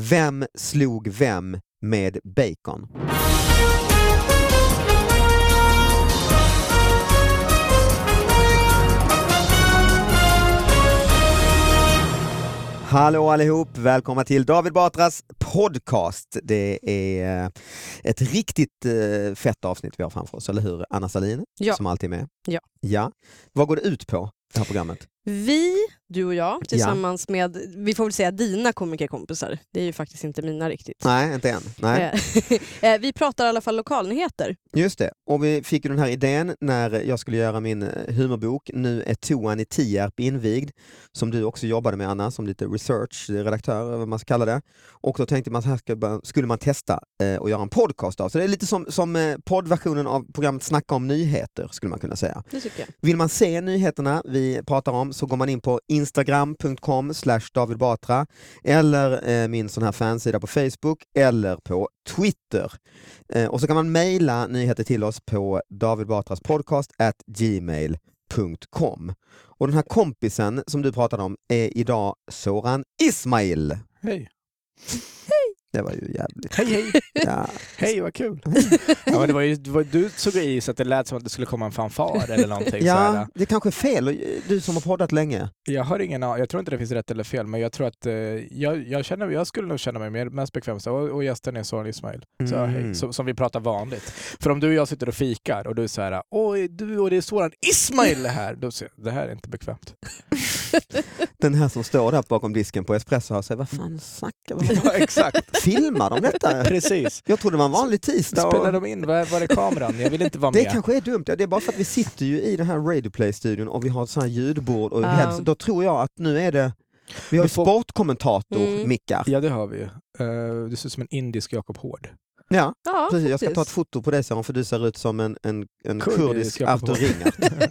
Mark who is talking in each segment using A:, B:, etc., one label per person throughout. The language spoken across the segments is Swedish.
A: Vem slog vem med bacon? Hallå allihop! Välkomna till David Batras podcast. Det är eh, ett riktigt eh, fett avsnitt vi har framför oss, eller hur? Anna Salin
B: Ja.
A: som alltid är med.
B: Ja.
A: ja. Vad går det ut på, det här programmet?
B: Vi, du och jag, tillsammans med, vi får väl säga dina komikerkompisar, det är ju faktiskt inte mina riktigt.
A: Nej, inte än. Nej.
B: Eh, vi pratar i alla fall lokalnyheter.
A: Just det, och vi fick ju den här idén när jag skulle göra min eh, humorbok. Nu är toan i Tierp invigd, som du också jobbade med Anna, som lite research-redaktör, eller vad man ska kalla det. Och då tänkte man så här ska man- skulle man testa eh, och göra en podcast av. Så det är lite som, som eh, poddversionen av programmet Snacka om nyheter, skulle man kunna säga.
B: Det tycker jag.
A: Vill man se nyheterna vi pratar om så går man in på instagram.com slash David Batra eller eh, min sån här fansida på Facebook eller på Twitter. Eh, och så kan man mejla nyheter till oss på davidbatraspodcast at gmail.com. Och den här kompisen som du pratade om är idag Soran Ismail.
C: Hej.
A: Det var ju jävligt.
C: Hej, hej.
A: Ja.
C: Hej, vad kul. ja, men det var ju, det var, du såg i så att det lät som att det skulle komma en fanfar eller någonting. så
A: ja,
C: här.
A: det kanske är fel. Och, eh, Du som har poddat länge.
C: Jag har ingen aning. Jag tror inte det finns rätt eller fel, men jag tror att eh, jag, jag, känner, jag skulle nog känna mig mer, mest bekväm så. Och, och gästen är Soran Ismail. Så,
A: Mm.
C: hej, som, som vi pratar vanligt. För om du och jag sitter och fikar och du säger oj, du och det är Soran Ismail här. Då säger jag, det här är inte bekvämt.
A: Den här som står där bakom disken på Espresso och säger vad fan snackar vad
C: ja, exakt.
A: Filmar de detta?
C: Precis.
A: Jag trodde det var en vanlig tisdag.
C: Spelar
A: Och...
C: de in? Var, var är kameran? Jag vill inte vara
A: Det
C: med.
A: kanske är dumt, ja, det är bara för att vi sitter ju i den här Radio Play-studion och vi har ett sånt här ljudbord och
B: Ja.
A: heads- Då tror jag att nu är det, vi har
C: Vi
A: ju
C: får-
B: Mm.
A: sportkommentator-mickar.
C: Ja, det har vi ju. Eh, du ser ut som en indisk Jakob Hård.
A: Ja,
B: Ja,
A: precis. Jag ska
B: faktiskt.
A: ta ett foto på dig Sören för du ser ut som en, en, en
C: Kurdisk
A: kurdisk
C: Jakob Hård.
A: autoringar.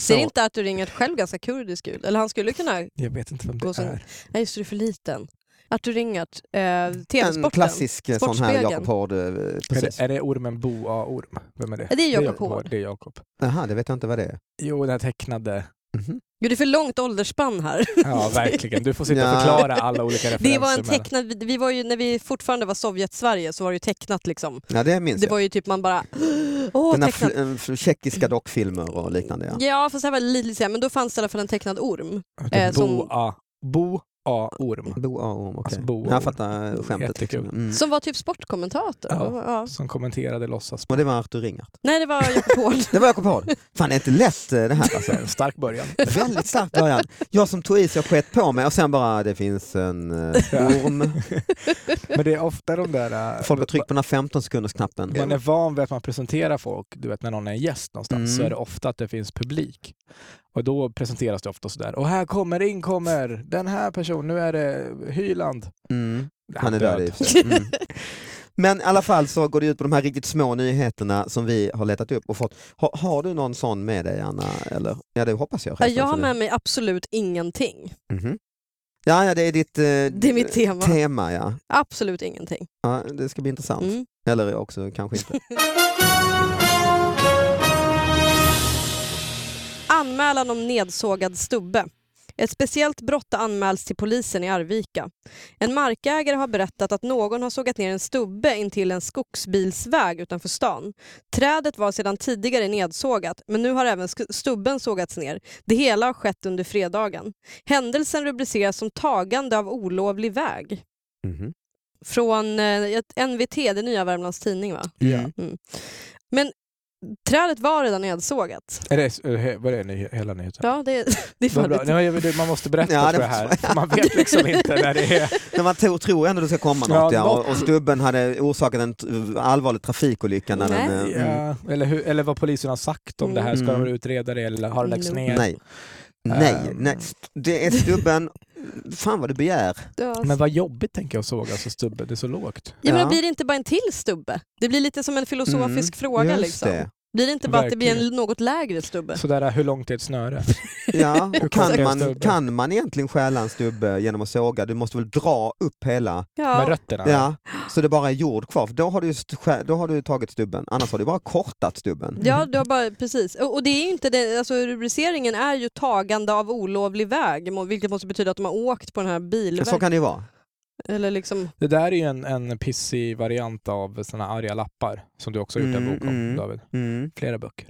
B: Ser inte att du ringat själv ganska kurdisk ut? Eller han skulle kunna...
C: Jag vet inte vem
B: Och
C: det
B: sen-
C: är.
B: Nej, just det, du är för liten. Att du ringat eh,
A: En
B: TV-sporten.
A: klassisk eh, sån här
B: Sportspegeln.
A: Jakob Hård. eh,
C: Är
A: Precis.
C: det, är det ormen Bo A. Orm? Vem är det?
B: Ja, det är Jakob Hård.
C: Det är Jakob.
A: Jaha, det vet jag inte vad det är.
C: Jo, den här tecknade.
A: Mhm.
B: Jo, det är för långt åldersspann här.
C: Ja, verkligen. Du får sitta
A: Ja.
C: och förklara alla olika referenser.
B: Det var en
C: mellan-
B: tecknad... vi- Vi var ju, när vi fortfarande var Sovjet-Sverige så var det ju tecknat liksom.
A: Ja, det minns
B: Det
A: jag.
B: var ju typ man bara... Åh,
A: Den här
B: tecknat.
A: fl- eh, fl- tjeckiska dockfilmer och liknande. Ja. Mm.
B: Ja, fast det här var lite senare, men då fanns det i alla fall en tecknad orm. eh, som-
C: Bo A. Bo A. Orm.
A: Bo Arum, okej.
C: Alltså, Bo
A: jag
C: Arum.
A: fattar skämtet.
C: Jättekul.
A: Liksom. Mm.
B: Som var typ sportkommentator.
C: Ja.
B: Ja.
C: Som kommenterade låtsas.
A: Och det var Arthur Ringart.
B: Nej, det var Jakob Hård.
A: Det var Jakob Hård. Fan, det är inte lätt eh, det här alltså.
C: En stark början.
A: Väldigt stark början. Jag som tog i så jag skett på mig och sen bara, det finns en eh, orm.
C: Men det är ofta de där... eh,
A: Folk har tryckt på den här 15 sekundersknappen.
C: Man är van vid att man presenterar folk, du vet när någon är en gäst någonstans,
A: Mm.
C: så är det ofta att det finns publik. Och då presenteras det ofta sådär, och här kommer, in kommer, den här personen, nu är det Hyland.
A: Mm. Han är död i och för
B: död.
A: sig. mm. Men i alla fall så går det ut på de här riktigt små nyheterna som vi har letat upp och fått. Har, har du någon sån med dig Anna? Eller? Ja det hoppas jag.
B: Ja,
A: självklart,
B: Jag har
A: för
B: med mig absolut ingenting.
A: det- Mhm. Ja, ja det är ditt eh,
B: Det är mitt tema.
A: tema ja.
B: Absolut ingenting.
A: ja. Det ska bli intressant.
B: Mm.
A: Eller också kanske inte.
B: Anmälan om nedsågad stubbe. Ett speciellt brott har anmälts till polisen i Arvika. En markägare har berättat att någon har sågat ner en stubbe intill en skogsbilsväg utanför stan. Trädet var sedan tidigare nedsågat, men nu har även sk- stubben sågats ner. Det hela har skett under fredagen. Händelsen rubriceras som tagande av olovlig väg.
A: Mhm.
B: Från eh, ett NVT, det nya Värmlands Tidning va?
C: Ja.
A: Mm.
B: Trädet var redan nedsågat.
C: Är det, eh, vad är det ny- hela nyheten?
B: Ja, det, det är
C: Vad
B: fan
C: bra.
B: lite-
C: Nej, jag- det- Man måste berätta
A: Ja, det
C: för det
A: måste
C: här. för Man vet liksom inte när det är...
A: När man tror, tror ändå det ska komma
C: Ja,
A: något ja,
C: något.
A: och, och stubben hade orsakat en t- allvarlig trafikolycka. När den,
B: Nej.
A: eh, mm.
C: Ja, eller, hur, eller vad polisen har sagt om det här. Ska
A: Mm.
C: de utreda det eller har det lagts
B: Mm.
C: ner?
A: Nej. Nej,
C: Ehm.
A: nej, det är stubben. Fan vad du begär.
B: Ja,
C: Men vad jobbigt tänker jag såg, alltså stubbe, det är så lågt.
B: Ja, men
A: Ja.
B: då blir det inte bara en till stubbe? Det blir lite som en filosofisk
A: Mm,
B: fråga.
A: just
B: Liksom.
A: det.
B: Blir det inte bara att det blir en
C: Verkligen.
B: något lägre stubbe?
C: Sådär, hur långt är ett snöre?
A: Ja, och
C: kort
A: kan,
C: är
A: man,
C: stubben?
A: kan man egentligen stjäla en stubbe genom att såga? Du måste väl dra upp hela,
C: Med
B: Ja.
C: rötterna?
A: ja, så det bara är jord kvar. För då har, du, st- skär- då har du tagit stubben, annars har du bara kortat stubben.
B: Ja, du har bara, precis. Och och det är ju inte det, alltså rubriceringen är ju tagande av olovlig väg, må- vilket måste betyda att de har åkt på den här bilvägen.
A: Så kan det ju vara.
B: Eller liksom,
C: Det där är ju en, en pissig variant av såna arga lappar som du också har gjort en
A: Mm,
C: bok om
A: mm.
C: David.
A: Mm.
C: Flera böcker.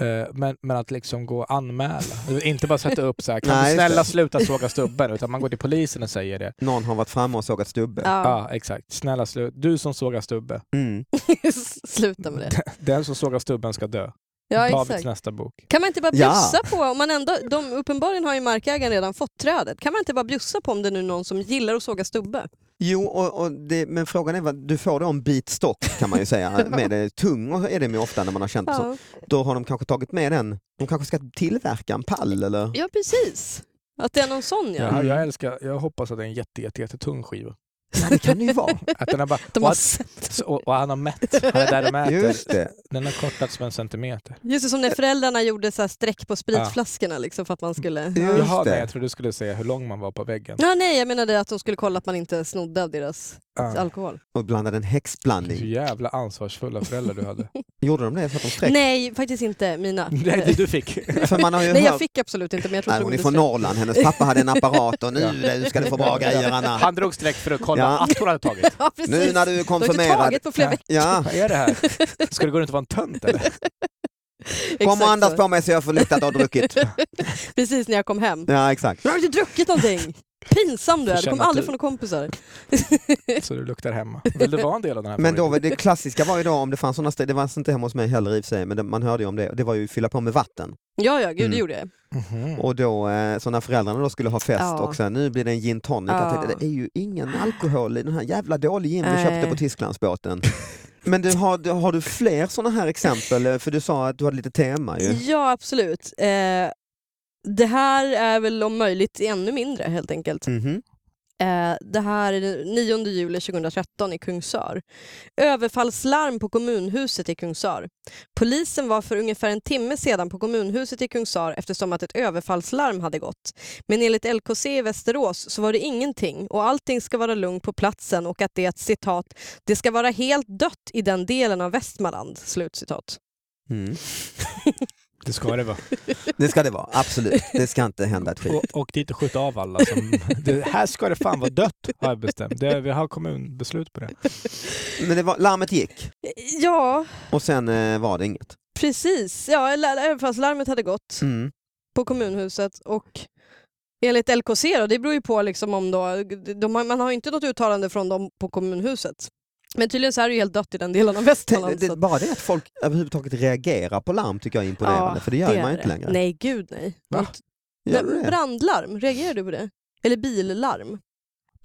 C: Eh, Men, men att liksom gå och anmäla. Inte bara sätta upp så här, kan
A: Nej,
C: du
A: just
C: snälla
A: det.
C: sluta såga stubben? Utan man går till polisen och säger det.
A: Någon har varit framme och sågat stubbe.
C: Ja,
B: ja,
C: exakt. Snälla sluta. Du som sågar stubbe.
A: Mm.
B: sluta med det.
C: Den som sågar stubben ska dö.
B: Ja,
C: Davids
B: exakt.
C: nästa bok.
B: Kan man inte bara
A: Ja.
B: bjussa på, om man ändå, de, uppenbarligen har ju markägaren redan fått trädet, kan man inte bara bjussa på om det nu är någon som gillar att såga stubbe?
A: Jo, och, och det, men frågan är vad du får då en bit stock kan man ju säga. med det. Tung och är det med ofta när man har känt det så.
B: Ja,
A: Då har de kanske tagit med den. De kanske ska tillverka en pall eller?
B: ja precis. Att det är någon sån ja. Mm.
C: Ja, jag älskar, jag hoppas att det är en jätte, jätte, jättetung skiva.
A: Ja, det kan det ju vara.
C: Att den har bara,
B: De
C: och,
B: har
C: att,
B: sett,
C: och, och han har mätt. Han är där och mäter.
A: Just det.
C: Den har kortats med en centimeter.
B: just det, som
A: Eh.
B: när föräldrarna gjorde så här streck
A: Ah.
B: på spritflaskorna liksom, för att man skulle...
A: Just
C: Jaha,
A: det.
C: nej, jag trodde du skulle säga hur lång man var på väggen.
B: Ja, nej, jag menade att de skulle kolla att man inte snodde av deras
C: Ah,
B: alkohol.
A: Och blandade en
C: hur
A: häxblandning.
C: jävla ansvarsfulla föräldrar du hade.
A: Gjorde de det så att de sträck?
B: Nej, faktiskt inte mina.
C: nej, det du fick.
A: För man har ju
B: Nej, jag
A: hört-
B: fick absolut inte, men jag tror
A: Nej,
B: att de
A: hon är
B: gjorde
A: från
B: streck.
A: Norrland, hennes pappa hade en apparat och
C: Ja.
A: nu du ska du få bra grejer Anna.
C: Han drog streck för att kolla
A: Ja.
C: att hon hade tagit.
B: Ja, precis.
A: Nu när du är
B: de har inte
A: konfirmerad.
B: tagit på flera
C: Ja.
B: veckor.
A: Ja,
C: Vad är det här? Ska du gå runt och vara en tönt eller?
A: kom
B: Exakt
A: och andas
B: så.
A: på mig så jag får lukta att du har druckit.
B: Precis när jag kom hem.
A: Ja, exakt.
B: Jag har inte druckit någonting. Pinsam du är, du
C: Känner
B: kommer
C: att
B: aldrig
C: du-
B: få några kompisar.
C: Så du luktar hemma. Vill du vara en del av den här
A: Men då,
C: familjen?
A: var det klassiska var ju då, om det fanns sådana ställen, det fanns inte hemma hos mig heller i och för sig, men det, man hörde ju om det, och det var ju fylla på med vatten.
B: Ja, ja, gud det
A: Mm.
B: gjorde jag.
C: Mhm.
A: Och då, eh, så när föräldrarna då skulle ha fest
B: Ja.
A: och sen nu blir det en gin tonic,
B: Ja.
A: jag tänkte, det är ju ingen alkohol i den här jävla dålig gin vi
B: Nej.
A: köpte på Tysklandsbåten. Men du, har, du- har du fler sådana här exempel? Eh, För du sa att du hade lite tema ju.
B: Ja, absolut. Eh, det här är väl om möjligt ännu mindre helt enkelt.
A: Mhm.
B: Eh, det här är den 9 juli 2013 i Kungsör. Överfallslarm på kommunhuset i Kungsör. Polisen var för ungefär en timme sedan på kommunhuset i Kungsör eftersom att ett överfallslarm hade gått. Men enligt LKC i Västerås så var det ingenting och allting ska vara lugnt på platsen och att det, citat, det ska vara helt dött i den delen av Västmanland, slutcitat.
A: Mm.
C: Det ska det vara.
A: Det ska det vara, absolut. Det ska inte hända ett skit.
C: Och, och dit och skjuta av alla. Som, det, här ska det fan vara dött har jag bestämt. Det, vi har kommunbeslut på det.
A: Men det var, larmet gick
B: Ja,
A: och sen eh, var det inget.
B: precis. Ja, eller- överfallslarmet hade gått.
A: Mm.
B: på kommunhuset och enligt LKC då, det beror ju på liksom om då, de har, man har ju inte något uttalande från dem på kommunhuset. Men tydligen så är det ju helt dött i den delen av
A: Tänk,
B: Västmanland. så
A: det,
B: att-
A: bara det att folk överhuvudtaget reagerar på larm tycker jag är imponerande, för det gör
B: är
A: man ju inte
B: det.
A: längre.
B: Nej, gud nej.
C: Va?
A: Gör
B: Men
A: du det?
B: brandlarm, reagerar du på det? Eller billarm?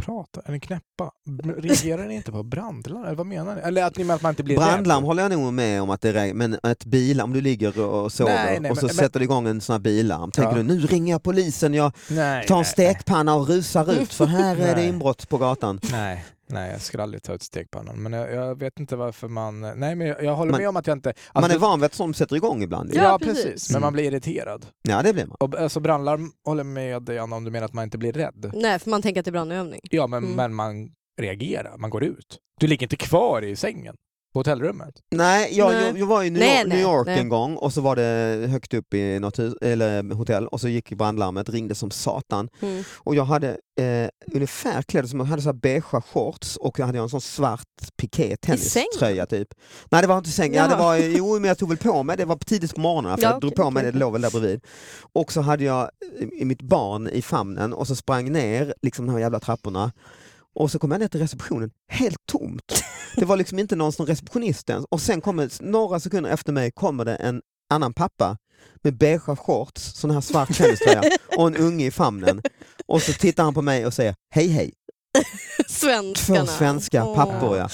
C: Prata, eller knäppa. Reagerar ni inte på brandlarm? Eller vad menar ni? Eller att ni menar att man inte blir
A: Brandlarm
C: rädd?
A: håller jag nog med om att det är, men ett bilarm, om du ligger och sover
C: Nej, nej,
A: och så
C: men-
A: sätter du igång en sån här bilarm, tänker
C: Ja.
A: du nu ringer jag polisen, jag
C: Nej,
A: tar en
C: nej,
A: stekpanna och rusar ut för här är det
C: Nej.
A: inbrott på gatan.
C: Nej, nej, jag skulle aldrig ta ut stekpannan. Men jag, jag vet inte varför man... Nej, men jag, jag håller
A: Man-
C: med om att jag inte...
A: Man
C: alltså-
A: är van vid att sånt sätter igång ibland. ju.
B: Ja,
C: Ja,
B: precis.
C: precis. Men man blir irriterad.
A: Ja det blir man.
C: Och, alltså, brandlarm håller med dig Anna om du menar att man inte blir rädd.
B: Nej, för man tänker att det är brandövning.
C: Ja, men,
B: Mm.
C: men man reagerar. Man går ut. Du ligger inte kvar i sängen på hotellrummet.
A: Nej, jag,
B: Nej.
A: Jag, jag var i New,
B: Nej,
A: York-
B: nej,
A: New York
B: nej.
A: en gång och så var det högt upp i något hus, eller hotell och så gick brandlarmet, ringde som satan
B: Mm.
A: och jag hade eh, ungefär kläder som jag hade så här beigea shorts och jag hade en sån svart piké tenniströja typ. Nej det var inte säng, ja, det
B: Jaha.
A: var, jo men jag tog väl på mig det, var tidigt på morgonen för
B: Ja,
A: jag drog
B: okej,
A: på mig
B: okej,
A: det, det låg väl där bredvid. Och så hade jag i- i mitt barn i famnen och så sprang ner liksom de här jävla trapporna och så kom jag ner till receptionen, helt tomt. Det var liksom inte någon som receptionist ens. Och sen kommer, några sekunder efter mig kommer det en annan pappa med beigea shorts, sån här svart tenniströja och en unge i famnen. Och så tittar han på mig och säger hej hej, två
B: Svenskarna.
A: svenska
B: Åh.
A: pappor ja.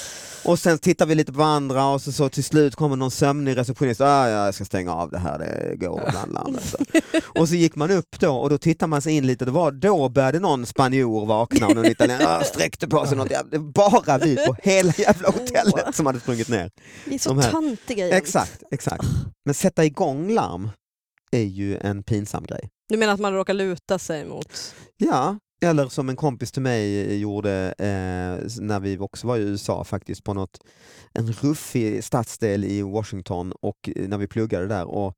A: Och sen tittar vi lite på varandra och så, så till slut kommer någon sömnig receptionist, ah, ja, jag ska stänga av det här, det går bland larmet. Så. Och så gick man upp då och då tittar man sig in lite, det var, då började någon spanjor vakna och någon italienare ah, sträckte på sig något, jävla- det var bara vi på hela jävla hotellet som hade sprungit ner.
B: Ni
A: De
B: är så
A: här-
B: töntiga jämt.
A: Exakt, exakt. Men sätta igång larm är ju en pinsam grej.
B: Du menar att man råkar luta sig mot...
A: Ja, eller som en kompis till mig gjorde eh, när vi också var i USA faktiskt på något, en ruffig stadsdel i Washington och eh, när vi pluggade där och,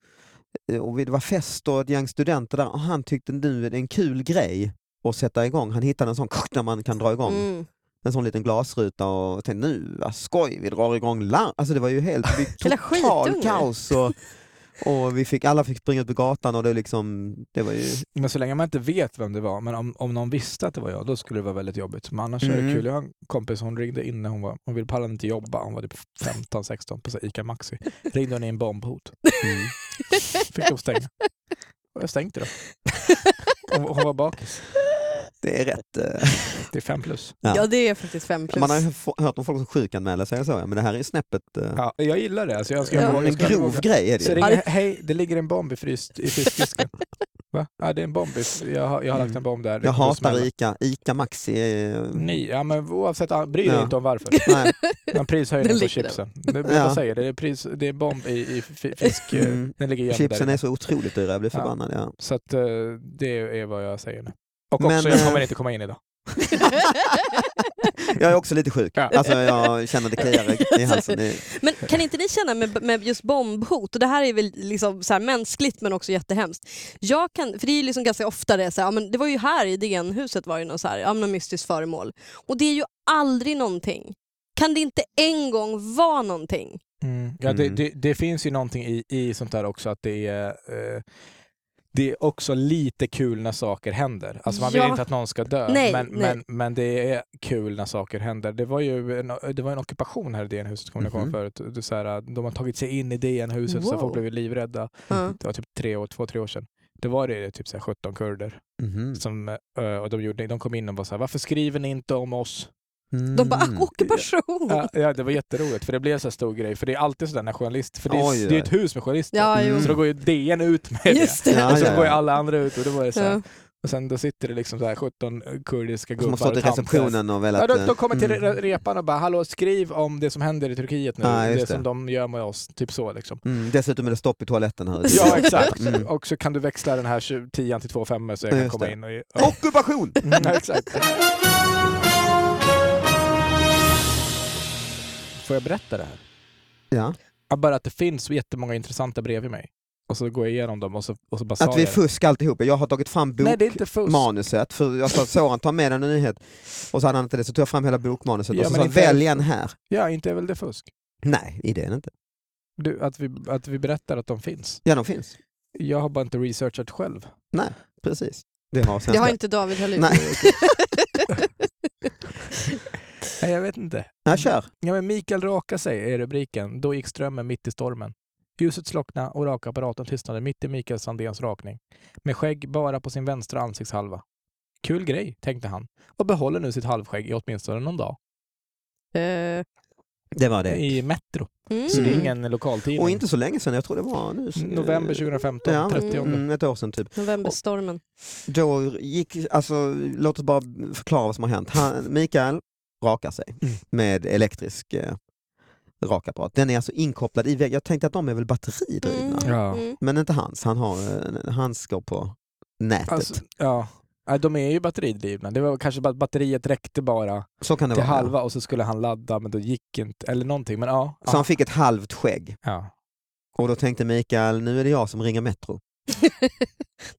A: eh, och vi- det var fest och ett gäng studenter där och han tyckte nu är det en kul grej att sätta igång. Han hittade en sån när man kan dra igång
B: Mm.
A: en sån liten glasruta och tänkte nu vad skoj, vi drar igång larm. Alltså det var ju helt det blev
B: Jävla
A: total
B: skitungar.
A: kaos. Och, och vi fick, alla fick springa ut på gatan och det, liksom, det var ju...
C: Men så länge man inte vet vem det var, men om, om någon visste att det var jag, då skulle det vara väldigt jobbigt. Men annars är det
A: Mm.
C: kul. Jag har en kompis, hon ringde in när hon var, hon ville pallade inte jobba, hon var typ 15-16 på så här ICA Maxi. Ringde hon in bombhot.
A: mm,
C: Fick hon stänga. Och jag stängde då. Hon, hon var bakis.
A: Det är rätt... eh,
C: Det är fem plus.
A: Ja.
B: Ja, det är faktiskt fem plus.
A: Man har ju få- hört om folk som sjukanmäler sig och så, ja, men det här är ju snäppet... eh,
C: Ja, jag gillar det. Alltså jag ska
B: Ja.
A: en
C: jag ska-
A: grov grej är det
C: Så
A: ju.
C: ringer, hej, det ligger en bomb i, fryst, i fiskdisken. Va? Ja, det är en bomb. i- Jag har, jag har lagt en bomb där. Det
A: Mm. Jag
C: kommer att
A: hatar
C: smälla.
A: ICA. ICA Maxi är...
C: Ni, ja men oavsett, bry dig
A: Ja.
C: inte om varför.
A: Nej.
C: Men
B: Den
C: prishöjning på
B: ligger där.
C: chipsen. Det,
A: Ja.
C: Vad säger det? Det är, pris, det är bomb i, i fi- fisk. eh,
A: Mm.
C: Den ligger gömd
A: Chipsen
C: där.
A: är så otroligt dyra, jag blir
C: Ja.
A: förbannad. Ja.
C: Så att, eh, det är vad jag säger nu. Och
A: Men,
C: också, jag
A: eh,
C: kommer inte komma in idag.
A: Jag är också lite sjuk.
C: Ja.
A: Alltså jag känner det kliar i- i halsen. Det-
B: Men kan inte ni känna med, med just bombhot, och det här är väl liksom så här mänskligt men också jättehemskt. Jag kan, för det är ju liksom ganska ofta det, så här, ja, men det var ju här i DN-huset var det någon, så här, ja, men någon mystiskt föremål. Och det är ju aldrig någonting. Kan det inte en gång vara någonting?
C: Ja, det,
A: Mm.
C: det, det finns ju någonting i, i sånt där också att det är eh, det är också lite kul när saker händer. Alltså man
B: Ja.
C: vill inte att någon ska dö,
B: Nej,
C: men,
B: nej.
C: Men, men det är kul när saker händer. Det var ju en, det var en ockupation här i DN-huset, kommer jag
A: Mhm.
C: ihåg förut. Det är så här, de har tagit sig in i DN-huset, så
B: Wow.
C: folk blev ju livrädda.
B: Ja.
C: Det var typ tre år, två, tre år sedan. Det var det typ så här 17 kurder
A: Mhm.
C: som eh, och de, gjorde, de kom in och var så här, varför skriver ni inte om oss?
B: De bara,
A: Mm.
B: "Ah, ockupation!
C: Ja, ja, det var jätteroligt för det blev så här stor grej. För det är alltid sådär när journalister, för det är,
A: Oj,
C: det är
A: oj.
C: ett hus med journalister.
B: Ja, jo.
A: Mm.
C: Så då går ju DN ut med
B: Just det.
A: Ja,
C: det. Och så
A: ja, ja.
C: går ju alla andra ut och då var det så här.
B: Ja.
C: Och sen då sitter det liksom så här 17 kurdiska
A: Som
C: gubbar
A: har stått i
C: och tanter.
A: receptionen och velat...
C: Ja, de, de
A: eh,
C: kommer till
A: mm.
C: re- repan och bara “Hallå, skriv om det som händer i Turkiet nu,
A: Ja,
C: det,
A: just det.
C: som de gör med oss”. Typ så liksom.
A: Mm, dessutom är det stopp i toaletten här ute.
C: Ja, exakt.
A: Mm.
C: Och så kan du växla den här 20 tian till 2 femmor så jag
A: Ja,
C: kan
A: just
C: komma
A: det.
C: in och...
A: Ockupation!
C: Mm, ja, exakt. Får jag berätta det här?
A: Ja.
C: Ja, Bara att det finns jättemånga intressanta bredvid mig. Och så går jag igenom dem och så, och så bara sa
A: Att vi är
C: jag...
A: fusk alltihop. Jag har tagit fram
C: Nej, det är inte fusk.
A: bokmanuset, för jag sa Soran ta med en nyhet och så hade han inte det, så tog jag fram hela bokmanuset
C: Ja,
A: och så
C: men
A: sa
C: inte-
A: välj en här.
C: Ja, inte är väl det fusk?
A: Nej, det är det inte.
C: Du, att, vi, att vi berättar att de finns.
A: Ja, de finns.
C: Jag har bara inte researchat själv.
A: Precis. Det har
B: Det
A: svenska.
B: har inte David Hallin.
A: Nej,
C: Nej, jag vet inte.
A: jag kör.
C: Ja, men Mikael raka sig är rubriken. Då gick strömmen mitt i stormen. Ljuset slocknade och rakapparaten tystnade mitt i Mikael Sandéns rakning. Med skägg bara på sin vänstra ansiktshalva. Kul grej, tänkte han och behåller nu sitt halvskägg i åtminstone någon dag.
B: Eh,
A: Det var det.
C: I Metro.
B: mm.
C: Så det är
A: Mm.
C: ingen lokaltidning.
A: Och inte så länge sedan, jag tror det var nu.
C: November 2015,
A: Ja,
C: 30.
A: mm, ett år sedan typ.
B: Novemberstormen.
A: Då gick, alltså låt oss bara förklara vad som har hänt. Han, Mikael rakar sig
C: Mm.
A: med elektrisk eh, rakapparat. Den är alltså inkopplad i väggen. Jag tänkte att de är väl batteridrivna?
B: Mm.
C: Ja.
B: Mm.
A: Men inte hans, han har eh, hans går på nätet.
C: Alltså, ja. Ja, De är ju batteridrivna. Det var kanske bara att batteriet räckte bara
A: så kan det
C: till
A: vara.
C: halva och så skulle han ladda men då gick inte, eller någonting. Men ja.
A: Så han fick ett halvt skägg
C: ja.
A: och då tänkte Mikael, nu är det jag som ringer Metro.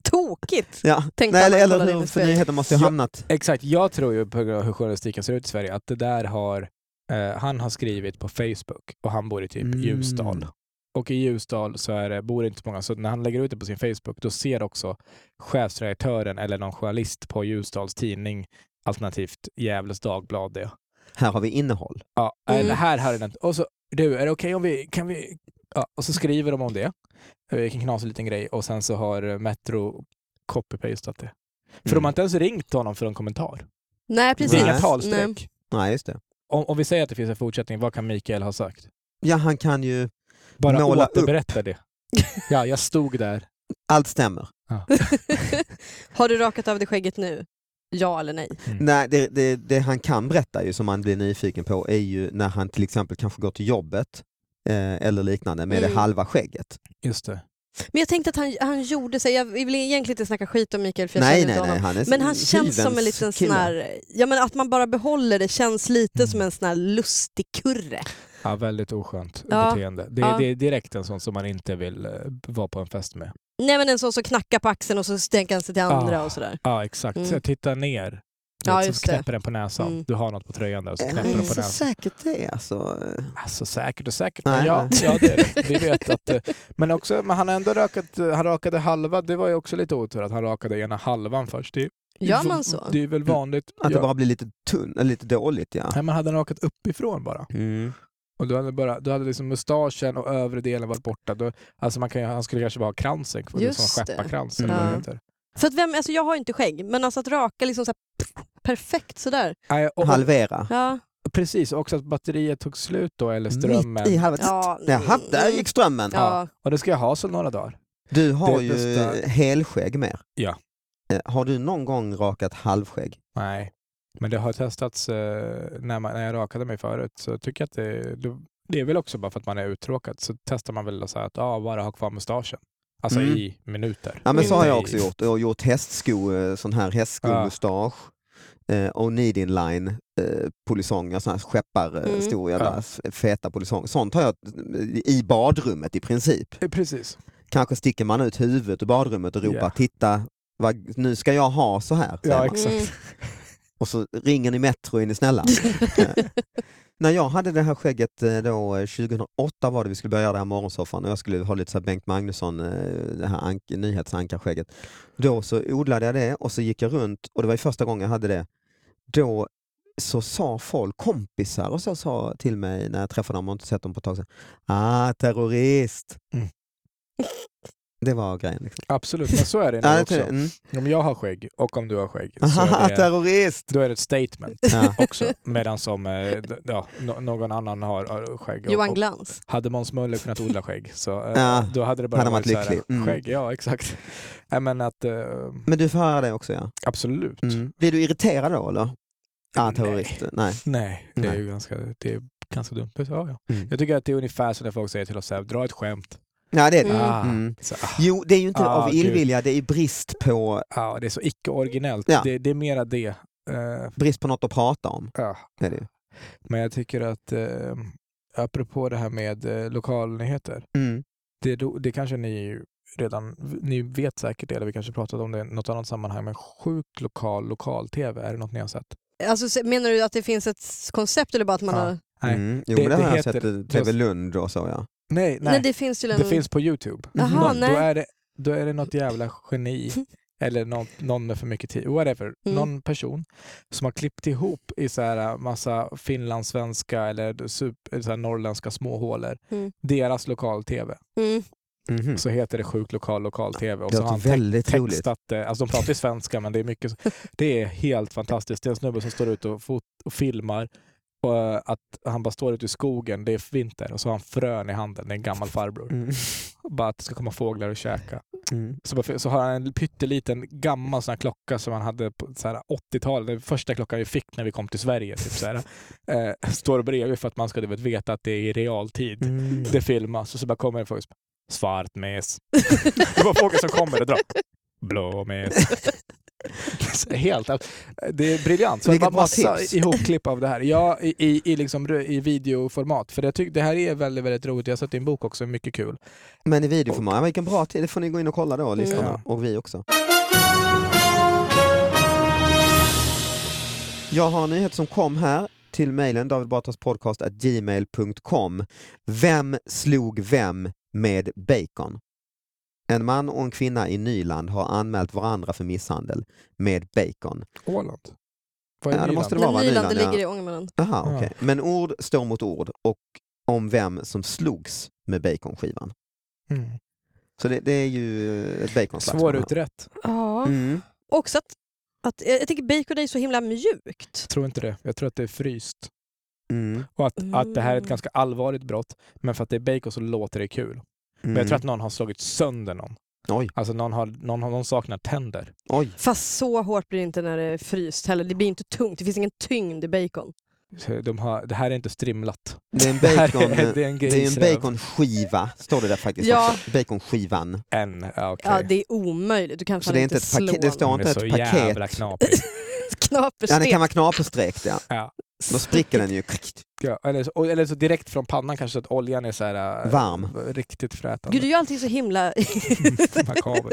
B: Tokigt!
A: Ja.
B: Tänkte
A: Nej,
B: han
A: eller,
B: när han
A: eller
B: kollade in
A: hur,
B: i
A: för
B: spegeln.
A: nyheten måste ju ha
C: Ja.
A: hamnat.
C: Exakt, jag tror ju på grund av hur journalistiken ser ut i Sverige att det där har eh, han har skrivit på Facebook och han bor i typ
A: Mm.
C: Ljusdal. Och i Ljusdal så är det, bor det inte så många, så när han lägger ut det på sin Facebook då ser också chefsredaktören eller någon journalist på Ljusdals tidning alternativt Gävles Dagblad det.
A: Här har vi innehåll.
C: Ja,
B: Mm.
C: eller här hade den inte. Och så, du, är det okej om vi, kan vi... Ja, och så skriver de om det. Eh, Vilken knasig liten grej. Och sen så har Metro copy-pastat det. För de har inte ens ringt honom för en kommentar.
B: Nej,
C: Det
B: Mm. precis.
C: är inga
B: Nej.
C: talstreck.
A: Nej, just det.
C: Om, om vi säger att det finns en fortsättning, vad kan Mikael ha sagt?
A: Ja, han kan ju,
C: Bara
A: Måla
C: återberätta det. Ja, jag stod där.
A: allt stämmer.
B: Har du rakat av dig skägget nu? Ja eller nej?
C: Mm.
A: Nej, det, det, det han kan berätta ju som man blir nyfiken på är ju när han till exempel kanske går till jobbet eh, eller liknande med
B: Mm.
A: det halva skägget.
C: Just det.
B: Men jag tänkte att han, han gjorde sig, jag vill egentligen inte snacka skit om Mikael för jag
A: Nej,
B: känner
A: nej,
B: inte
A: nej,
B: honom.
A: han är
B: Men han känns som en
A: hyvens
B: liten sån
A: kille.
B: här, ja men att man bara behåller det känns lite
C: Mm.
B: som en sån här lustig kurre.
C: Ja, väldigt oskönt
B: Ja,
C: beteende. Det,
B: ja.
C: det är direkt en sån som man inte vill eh, vara på en fest med.
B: Nej men en sån som knackar på axeln och så stänker han sig till andra
C: Ah.
B: och sådär.
C: Ja, exakt.
B: Mm.
C: Så jag tittar ner. Du
B: Ja,
C: vet,
B: just
C: så
B: det.
C: knäpper den på näsan.
B: Mm.
C: Du har något på tröjan där och så
A: Eh,
C: knäpper
A: men
C: den
A: det
C: på
A: är inte
C: näsan.
A: så säkert det alltså.
C: Alltså säkert och säkert.
A: Nej,
C: men ja,
A: nej.
C: ja, det är det. Vi vet att... eh, Men också, men han har ändå rakat, eh, han rakade halva, det var ju också lite otur att han rakade ena halvan först. Det,
B: Gör man så?
C: Det är väl vanligt.
A: Att det
C: Ja.
A: bara blir lite tunn, eller lite dåligt ja.
C: Nej, men hade han rakat uppifrån bara
A: Mm.
C: och du hade, bara, du hade liksom mustaschen och övre delen varit borta, då, alltså man kan, ju- han skulle kanske bara ha kransen kvar,
B: Just
C: liksom
B: det.
C: skepparkrans
A: Mm.
C: eller vad det
B: Ja.
C: heter.
B: För att vem, alltså jag har ju inte skägg, men alltså att raka liksom så här, perfekt sådär.
C: Nej, och, och,
A: Halvera.
B: Ja,
C: precis, och också att batteriet tog slut då, eller strömmen.
A: Mitt i halva...
B: ja,
A: Jaha, där
B: mm,
A: gick strömmen.
B: ja.
C: Och det ska jag ha så några dagar.
A: Du har
C: Det
A: ju
C: bästa-
A: helskägg mer.
C: Ja.
A: Eh, Har du någon gång rakat halvskägg?
C: Nej, men det har testats eh, när, man, när jag rakade mig förut. Så jag tycker att det, det, det är väl också bara för att man är uttråkad. Så testar man väl att säga att ah, bara ha kvar mustaschen. Alltså
A: Mm.
C: i minuter.
A: Ja men så
B: Mm.
A: har jag
C: Nej.
A: också gjort. Jag har gjort hästsko, eh, sån här hästskomustasch. Eh, och need in line eh, polisonger, sån här
B: Mm.
A: skepparhistoria,
C: Ja.
A: där, f- feta polisonger. Sånt har jag eh, i badrummet i princip.
C: Eh, Precis.
A: Kanske sticker man ut huvudet ur badrummet och ropar
C: Ja.
A: titta vad, nu ska jag ha så här. säger
C: Ja,
A: man.
C: exakt.
B: Mm.
A: Och så ringer ni Metro, är ni snälla? Eh, När jag hade det här skägget eh, då, eh, 2008 var det vi skulle börja göra det här morgonsoffan och jag skulle ha lite så här Bengt Magnusson, eh, det här ank- nyhetsankarskägget. Då så odlade jag det och så gick jag runt och det var ju första gången jag hade det. Då så sa folk, kompisar och så sa till mig när jag träffade dem och inte sett dem på ett tag sedan, ah terrorist.
C: Mm.
A: Det var grejen. Liksom.
C: Absolut, men så är det
A: Ja,
C: nu
A: jag tror-
C: också.
A: mm.
C: Om jag har skägg och om du har skägg så
A: Ah,
C: är det,
A: terrorist!
C: då är det ett statement
A: Ja.
C: också. Medan som eh, d- ja, no, någon annan har, har skägg. Och,
B: Johan
C: och
B: Glans.
C: hade Måns Möller kunnat odla skägg så eh,
A: Ja,
C: då hade det bara
A: hade han
C: varit
A: varit
C: så här,
A: lycklig. Mm.
C: skägg. Ja, exakt. Nej, men att, eh,
A: Men du får höra det också ja.
C: absolut.
A: Mm. Blir du irriterad då eller? Ah,
C: Nej.
A: terrorist. Nej.
C: Nej, det är
A: Nej.
C: ju ganska, det är ganska dumt. Ja, ja.
A: Mm.
C: Jag tycker att det är ungefär som när folk säger till oss så här, dra ett skämt.
A: Ja, det är det.
B: Mm.
C: Ah,
A: Mm.
C: så, ah,
A: Jo, det är ju inte
C: Ah,
A: av
C: gud.
A: illvilja, det är brist på,
C: ah, det är så icke-originellt.
A: Ja.
C: Det, det är mera det. Eh,
A: brist på något att prata om.
C: ja.
A: Det är det. ju.
C: Men jag tycker att, eh, apropå det här med eh, lokalnyheter,
A: Mm.
C: det, do- det kanske ni redan ni vet säkert det, eller vi kanske pratat om det i något annat sammanhang, men sjuk lokal lokal-tv, är det något ni har sett?
B: Alltså, se- menar du att det finns ett s- koncept eller bara att man
C: Ja.
B: har...
C: Nej,
A: Mm. Jo,
C: det-
A: det, det har
C: det
A: jag
C: heter-
A: sett i TV Lund och så ja.
C: Nej,
B: Nej.
C: nej.
B: det finns tydligen...
C: Det finns på Youtube.
B: Jaha,
C: Nå-
B: Ah, nej.
C: Då, är det, då är det något jävla geni eller någon, någon med för mycket tid, whatever.
B: Mm.
C: Någon person som har klippt ihop i så här äh, massa finlandssvenska eller super, så här norrländska småhålor
B: Mm.
C: deras lokal-tv.
B: Mm.
A: Mhm.
C: Så heter det sjuk lokal lokal-tv. Och
A: Det
C: så
A: låter
C: har han te-
A: väldigt roligt.
C: textat det. Alltså de pratar ju svenska men det är mycket så. Det är helt fantastiskt. Det är en snubbe som står ute och, fot- och filmar och eh, att han bara står ute i skogen, det är vinter och så har han frön i handen, det är en gammal farbror.
A: Mm.
C: Bara att det ska komma fåglar och käka.
A: Mm.
C: Så, bara, så har han en pytteliten gammal sån här klocka som han hade på så här 80-talet, den första klockan vi fick när vi kom till Sverige. Typ så här. Eh, står bredvid för att man ska du vet, veta att det är i realtid.
A: Mm.
C: Det filmas och så bara kommer en fråga som svart mes. Det var frågor som kommer och drar. Blå mes. Så Helt, det är briljant. Så det
A: Vilket
C: var
A: bra
C: massa
A: tips.
C: ihopklipp av det här. Ja, i, i, i, liksom, rö- i videoformat. För jag tycker det här är väldigt, väldigt roligt. Jag har sett din bok också, mycket kul.
A: Men i videoformat, ja, vilken bra tid. Det får ni gå in och kolla då, lyssnarna.
C: Ja.
A: Och vi också. Jag har en nyhet som kom här till mejlen davidbatraspodcast.gmail.com. Vem slog vem med bacon? En man och en kvinna i Nyland har anmält varandra för misshandel med bacon.
C: Åland? Vad är
A: Ja, det
C: Nyland?
A: måste det
B: Nej,
A: vara
B: Nyland, det
A: Nyland, ja.
B: ligger i Ångermanland.
A: Aha,
C: Ja.
A: okej. Men ord står mot ord och om vem som slogs med baconskivan.
C: Mm.
A: Så det, det är ju eh, ett baconslagsmål. här.
C: Svårutrett.
B: Ja.
A: Mm.
B: Också att, att... eh, Jag tycker bacon är så himla mjukt.
C: Tror inte det. Jag tror att det är fryst.
A: Mm.
C: Och att, att det här är ett
B: Mm.
C: ganska allvarligt brott. Men för att det är bacon så låter det kul. Men
A: Mm.
C: jag tror att någon har slagit sönder någon.
A: Oj.
C: Alltså någon, har, någon, har, någon saknar tänder.
A: Oj.
B: Fast så hårt blir det inte när det är fryst heller. Det blir inte tungt. Det finns ingen tyngd i bacon.
C: Så De har, det här är inte strimlat.
A: Det är en
C: Det här
A: bacon...
C: är, det är en
A: Det är en
C: grisröv.
A: baconskiva, står det där faktiskt
B: Ja.
A: också. Baconskivan.
C: En, ja, okej.
B: Ja, det är omöjligt. Du kan
A: Så
B: fan
A: det är
B: inte
A: inte ett
B: slå
A: paket, det står
C: De
A: inte
C: är så
A: ett paket.
C: jävla knapigt.
B: Knaperstekt.
A: Ja, det kan vara knaperstekt ja.
C: Ja.
A: Då spricker den ju.
C: Ja, eller, så, och- eller så direkt från pannan kanske så att oljan är så här, äh,
A: Varm.
C: riktigt frätande.
B: Gud, du är ju alltid så himla
C: Makaber.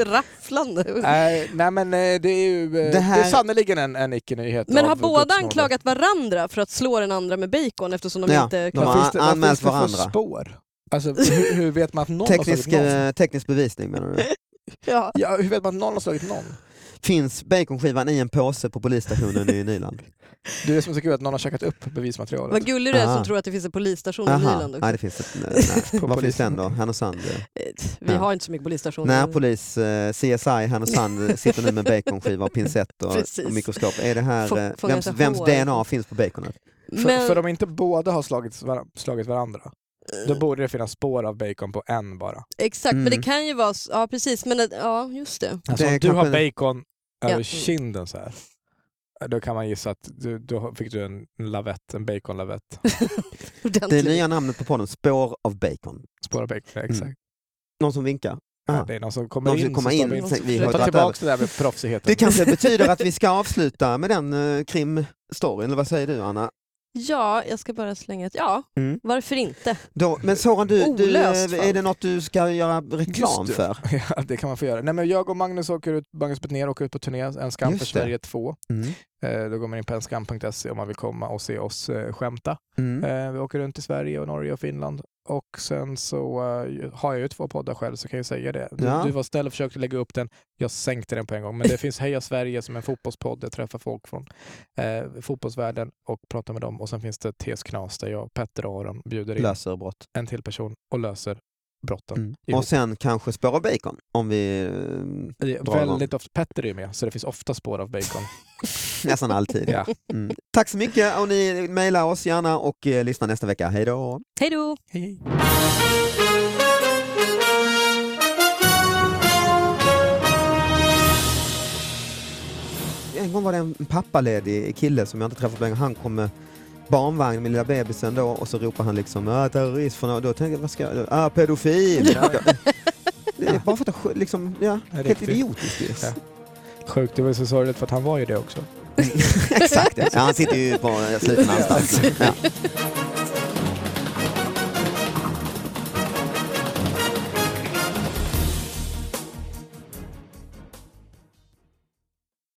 A: Äh,
B: rafflande.
C: Nej, nej men eh, det är ju eh, det
A: Det här-
C: är sannerligen en, en icke-nyhet.
B: Men
C: av
B: har båda
C: gudsnåde.
B: anklagat varandra för att slå den andra med bacon eftersom de
A: Ja,
B: inte...
A: de
C: Vad
A: har
C: finns det- vad
A: anmält
C: finns det för
A: varandra.
C: spår? Alltså, hur, hur vet man att någon
A: Teknisk,
C: har slagit någon?
A: eh, teknisk bevisning menar du?
B: Ja.
C: Ja, hur vet man att någon har slagit någon?
A: Finns baconskivan i en påse på polisstationen i Nyland?
C: Det är som så kul att någon har käkat upp bevismaterialet.
B: Vad gullig du är som
A: Ah.
B: tror att det finns en polisstation i
A: Aha,
B: Nyland.
A: nej det finns ett, nej, nej.
C: På
A: Var finns
C: polisen.
A: den då? Härnösand? eh.
B: Eh, Vi
A: Ja.
B: har inte så mycket polisstationer.
A: Närpolis, eh, CSI Härnösand sitter nu med baconskiva och pincett och,
B: Precis.
A: och mikroskop. Är det här,
B: Få-
A: eh,
B: fånga
A: vems,
B: sig
A: vems
B: hår.
A: DNA finns på baconet?
C: För,
B: Men,
C: för om inte båda har slagit, var, slagit varandra, då
B: Eh.
C: borde det finnas spår av bacon på en bara.
B: Exakt, men det
A: Mm.
B: kan ju vara... s- Ja, precis. Men att- ja, just det.
C: Alltså,
A: Det
C: om
A: är
C: du har
A: kanske-
C: bacon över
B: Ja.
C: kinden så här, då kan man gissa att du, då fick du en lavett, en baconlavett.
A: Det
B: Ordentligt.
A: nya namnet på podden, Spår av bacon.
C: Spår av bacon, exakt.
A: Någon som vinkar?
C: Ja,
A: Aha.
C: det är någon som kommer
A: Mm. Någon
C: in.
A: som kommer
C: som står
A: in?
C: med-
A: Sen- Vi
B: Jag
A: har
C: Ta
A: dragit över.
C: tillbaka det där med proffsigheten.
A: Det kanske betyder att vi ska avsluta med den eh, krimstoryn, eller vad säger du Anna?
B: Ja, jag ska bara slänga ett... Ja,
A: Mm.
B: varför inte?
A: Då, men Soran, du, du,
B: Olöst
A: eh,
B: fall.
A: är det något du ska göra reklam
C: Just det.
A: för?
C: Ja, det kan man få göra. Nej, men jag och Magnus åker ut, Magnus Betnér åker ut på turné, En skam
A: Just
C: för
A: det.
C: Sverige 2.
A: Mm.
C: Eh, då går man in på enskam.se E om man vill komma och se oss eh, skämta.
A: Mm.
C: Eh, vi åker runt i Sverige och Norge och Finland. Och sen så eh, har jag ju två poddar själv så kan jag ju säga det. Du,
A: Ja.
C: du var snäll och försökte lägga upp den. Jag sänkte den på en gång. Men det finns Heja Sverige som är en fotbollspodd. Jag träffar folk från eh, fotbollsvärlden och pratar med dem. Och sen finns det TS Knas där jag, Petter och Aron bjuder in
A: Löser brott.
C: en till person och löser brotten.
A: Mm.
C: Jo.
A: Och sen kanske Spår av bacon, om vi eh,
C: Det är
A: Dra igång.
C: Väldigt ofta. Petter är ju med, så det finns ofta spår av bacon.
A: Nästan alltid.
C: Ja.
A: Mm. Tack så mycket och ni mejlar oss gärna och eh, lyssna nästa vecka. Hej då!
B: Hej då!
C: Hej, hej.
A: En gång var det en pappaledig kille som jag inte träffat på länge. Han kom med barnvagn med lilla bebisen då och så ropar han liksom äh, terrorist från och då tänker jag vad ska jag, äh, pedofil. Det är bara för att jag sk- liksom, ja,
C: Ja,
A: helt
C: riktigt.
A: idiotiskt ju.
C: Ja. Sjukt, det var så sorgligt för att han var ju det också.
A: Exakt, ja. Ja, han sitter ju på eh, sluten anstalt. nu. Ja.